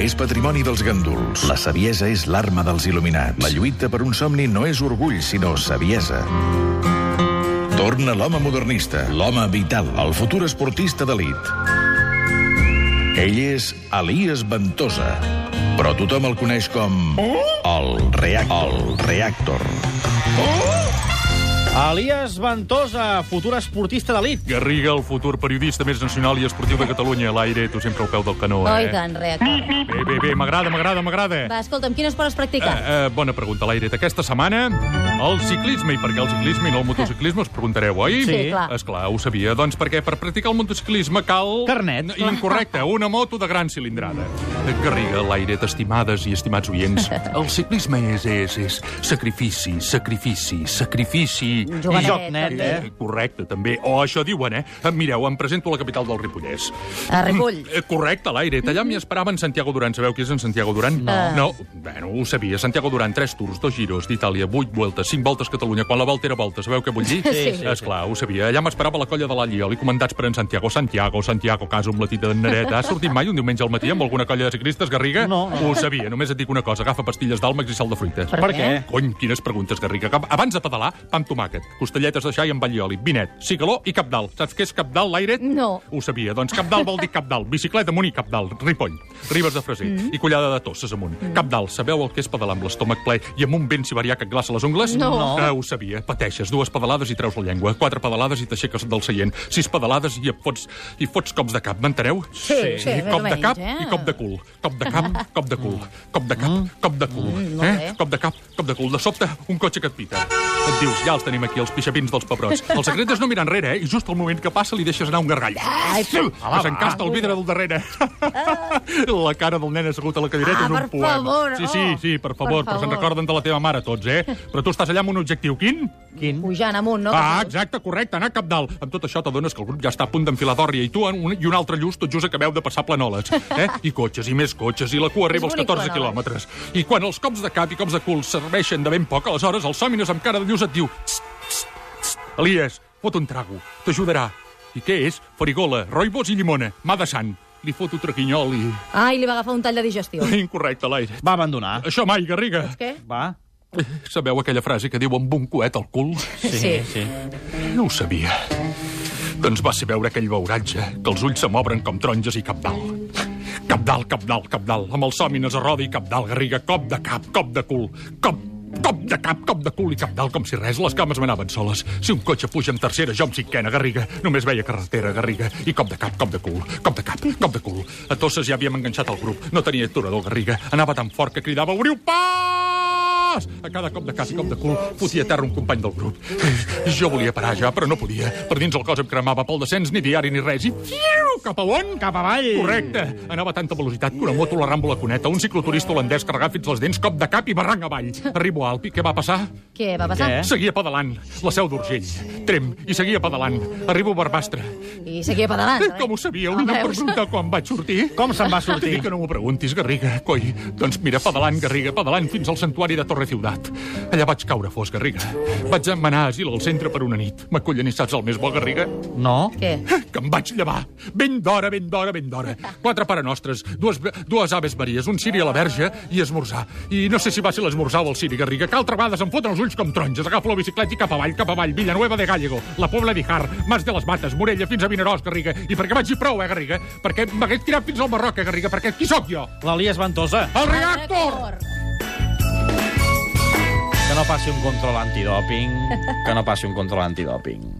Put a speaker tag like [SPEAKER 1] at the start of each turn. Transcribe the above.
[SPEAKER 1] és patrimoni dels ganduls. La saviesa és l'arma dels il·luminats. La lluita per un somni no és orgull, sinó saviesa. Torna l'home modernista, l'home vital, el futur esportista d'elit. Ell és Elias Ventosa, però tothom el coneix com... El Reactor. El Reactor.
[SPEAKER 2] Elias Ventosa, futur esportista d'elit.
[SPEAKER 3] Garriga, el futur periodista més nacional i esportiu de Catalunya. L'aire, tu sempre al peu del canó,
[SPEAKER 4] Oi,
[SPEAKER 3] eh?
[SPEAKER 4] que en reactor.
[SPEAKER 3] Bé, bé, bé, m'agrada, m'agrada, m'agrada.
[SPEAKER 4] Va, escolta'm, quin esport es practica?
[SPEAKER 3] Eh, eh, bona pregunta, l'Airet. Aquesta setmana, el ciclisme, i per què el ciclisme i no el motociclisme, us preguntareu, oi?
[SPEAKER 4] Sí, clar.
[SPEAKER 3] Esclar, ho sabia. Doncs perquè per practicar el motociclisme cal...
[SPEAKER 2] Carnet.
[SPEAKER 3] N- Incorrecte, una moto de gran cilindrada. Garriga, l'Airet, estimades i estimats oients, el ciclisme és, és, és sacrifici, sacrifici, sacrifici...
[SPEAKER 4] Jovenet,
[SPEAKER 3] i joc
[SPEAKER 4] net,
[SPEAKER 3] net, eh? Correcte, també. O oh, això diuen, eh? Mireu, em presento a la capital del Ripollès.
[SPEAKER 4] A Ripoll.
[SPEAKER 3] Eh, Correcte, l'Aire. Allà m'hi esperava en Santiago Duran. Sabeu qui és en Santiago Duran? No. No, bueno, ho sabia. Santiago Duran, tres tours, dos giros d'Itàlia, vuit vueltes, cinc voltes Catalunya, quan la volta era volta. Sabeu què vull dir?
[SPEAKER 4] Sí, sí,
[SPEAKER 3] Esclar, ho sabia. Allà m'esperava la colla de la Llioli, comandats per en Santiago. Santiago, Santiago, caso amb la tita de Nareta. Has sortit mai un diumenge al matí amb alguna colla de ciclistes, Garriga?
[SPEAKER 2] No.
[SPEAKER 3] Ho sabia. Només et dic una cosa. Agafa pastilles d'àlmacs i sal de fruites.
[SPEAKER 4] Per què?
[SPEAKER 3] Cony, quines preguntes, Garriga. Cap- Abans de pedalar, pa amb tomàquet, costelletes de xai amb allioli, vinet, cigaló i cap dalt. Saps què és cap dalt, l'airet?
[SPEAKER 4] No.
[SPEAKER 3] Ho sabia. Doncs cap dalt vol dir cap dalt. Bicicleta amunt i cap dalt. Ripoll, Ribes de Freser mm -hmm. i Collada de Tosses amunt. Mm -hmm. Cap dalt. Sabeu el que és pedalar amb l'estómac ple i amb un vent siberià que et glaça les ungles?
[SPEAKER 4] No. No.
[SPEAKER 3] Eh, ho sabia. Pateixes dues pedalades i treus la llengua. Quatre pedalades i t'aixeques del seient. Sis pedalades i et fots, i fots cops de cap. M'enteneu?
[SPEAKER 4] Sí, sí, més o
[SPEAKER 3] Cop de
[SPEAKER 4] menys,
[SPEAKER 3] cap
[SPEAKER 4] eh? Mm.
[SPEAKER 3] i cop de cul. Cop de cap, cop de cul. Cop de cap, cop de cul.
[SPEAKER 4] molt
[SPEAKER 3] Eh?
[SPEAKER 4] bé.
[SPEAKER 3] Cop de cap, cop de cul. De sobte, un cotxe que et pita. Et dius, ja els tenim aquí, els pixapins dels pebrots. El secret és no mirar enrere, eh? I just al moment que passa li deixes anar un gargall. Ai, que s'encasta el vidre del darrere. La cara del nen assegut a la cadireta
[SPEAKER 4] Ah,
[SPEAKER 3] és un
[SPEAKER 4] per
[SPEAKER 3] poema.
[SPEAKER 4] favor,
[SPEAKER 3] sí, sí,
[SPEAKER 4] oh.
[SPEAKER 3] sí, per
[SPEAKER 4] Per
[SPEAKER 3] favor, però se'n
[SPEAKER 4] favor.
[SPEAKER 3] recorden de la teva mare tots, eh? Però tu estàs allà amb un objectiu. Quin?
[SPEAKER 2] Quin?
[SPEAKER 4] Pujant amunt, no?
[SPEAKER 3] Eh. Ah, exacte, correcte, anar cap dalt. Amb tot això t'adones que el grup ja està a punt d'enfilar d'òrria i tu en un, i un altre lluç tot just acabeu de passar planoles. Eh? I cotxes, i més cotxes, i la cua arriba
[SPEAKER 4] És
[SPEAKER 3] als
[SPEAKER 4] bonic,
[SPEAKER 3] 14
[SPEAKER 4] Planoles.
[SPEAKER 3] quilòmetres. I quan els cops de cap i cops de cul serveixen de ben poc, aleshores el Sòmines amb cara de lluç et diu "Txt, txt, txt, Elias, fot un trago, t'ajudarà. I què és? Farigola, roibos i llimona, mà de sant. Li foto traquinyol i...
[SPEAKER 4] Ai, li va agafar un tall de digestió.
[SPEAKER 3] Incorrecte, l'aire.
[SPEAKER 2] Va abandonar.
[SPEAKER 3] Això mai, Garriga.
[SPEAKER 4] Què?
[SPEAKER 2] Va.
[SPEAKER 3] Sabeu aquella frase que diu amb un coet al cul?
[SPEAKER 4] Sí.
[SPEAKER 2] sí.
[SPEAKER 3] No ho sabia. Doncs va ser veure aquell beuratge, que els ulls se m'obren com taronges i cap dalt. Cap dalt, cap dalt, cap dalt, amb els sòmines a roda i cap dalt, garriga, cop de cap, cop de cul, cop, cop de cap, cop de cul i cap dalt, com si res, les cames m'anaven soles. Si un cotxe puja en tercera, jo en cinquena, garriga, només veia carretera, garriga, i cop de cap, cop de cul, cop de cap, cop de cul. A Tosses ja havíem enganxat el grup, no tenia aturador, garriga, anava tan fort que cridava, obriu pas! A cada cop de cap i cop de cul fotia a terra un company del grup. Jo volia parar ja, però no podia. Per dins el cos em cremava pel descens, ni diari ni res. I fiu, cap a on?
[SPEAKER 2] Cap avall.
[SPEAKER 3] Correcte. Anava a tanta velocitat que una moto la rambo la cuneta, un cicloturista holandès carregat fins les dents, cop de cap i barranc avall. Arribo a Alpi, què va passar?
[SPEAKER 4] Què va passar?
[SPEAKER 2] Què?
[SPEAKER 3] Seguia pedalant. La seu d'Urgell. Trem. I seguia pedalant. Arribo a Barbastre.
[SPEAKER 4] I seguia pedalant. eh?
[SPEAKER 3] Com ho sabíeu? No em
[SPEAKER 4] veus?
[SPEAKER 3] preguntar quan vaig sortir.
[SPEAKER 2] Com se'n va
[SPEAKER 3] T'he
[SPEAKER 2] sortir?
[SPEAKER 3] dit que no m'ho preguntis, Garriga. Coi, doncs mira, pedalant, Garriga, pedalant fins al santuari de Torre Ciutat. Allà vaig caure fos, Garriga. Vaig demanar asil al centre per una nit. M'acollen i saps el més bo, Garriga?
[SPEAKER 2] No.
[SPEAKER 4] Què?
[SPEAKER 3] que em vaig llevar. Ben d'hora, ben d'hora, ben d'hora. Quatre parenostres, dues, dues aves maries, un ciri a la verge i esmorzar. I no sé si va ser l'esmorzar o el ciri, Garriga, que altra vegada se'm foten els ulls com taronges. Agafo la bicicleta i cap avall, cap avall, Villanueva de Gallego, la Pobla d'Ijar, Mas de les Mates, Morella, fins a Vinaròs, Garriga. I perquè vaig dir prou, eh, Garriga? Perquè m'hagués tirat fins al Marroc, eh, Garriga? Perquè qui sóc jo?
[SPEAKER 2] L'Elias Ventosa.
[SPEAKER 3] El reactor!
[SPEAKER 2] Que no passi un control antidòping. Que no passi un control antidòping.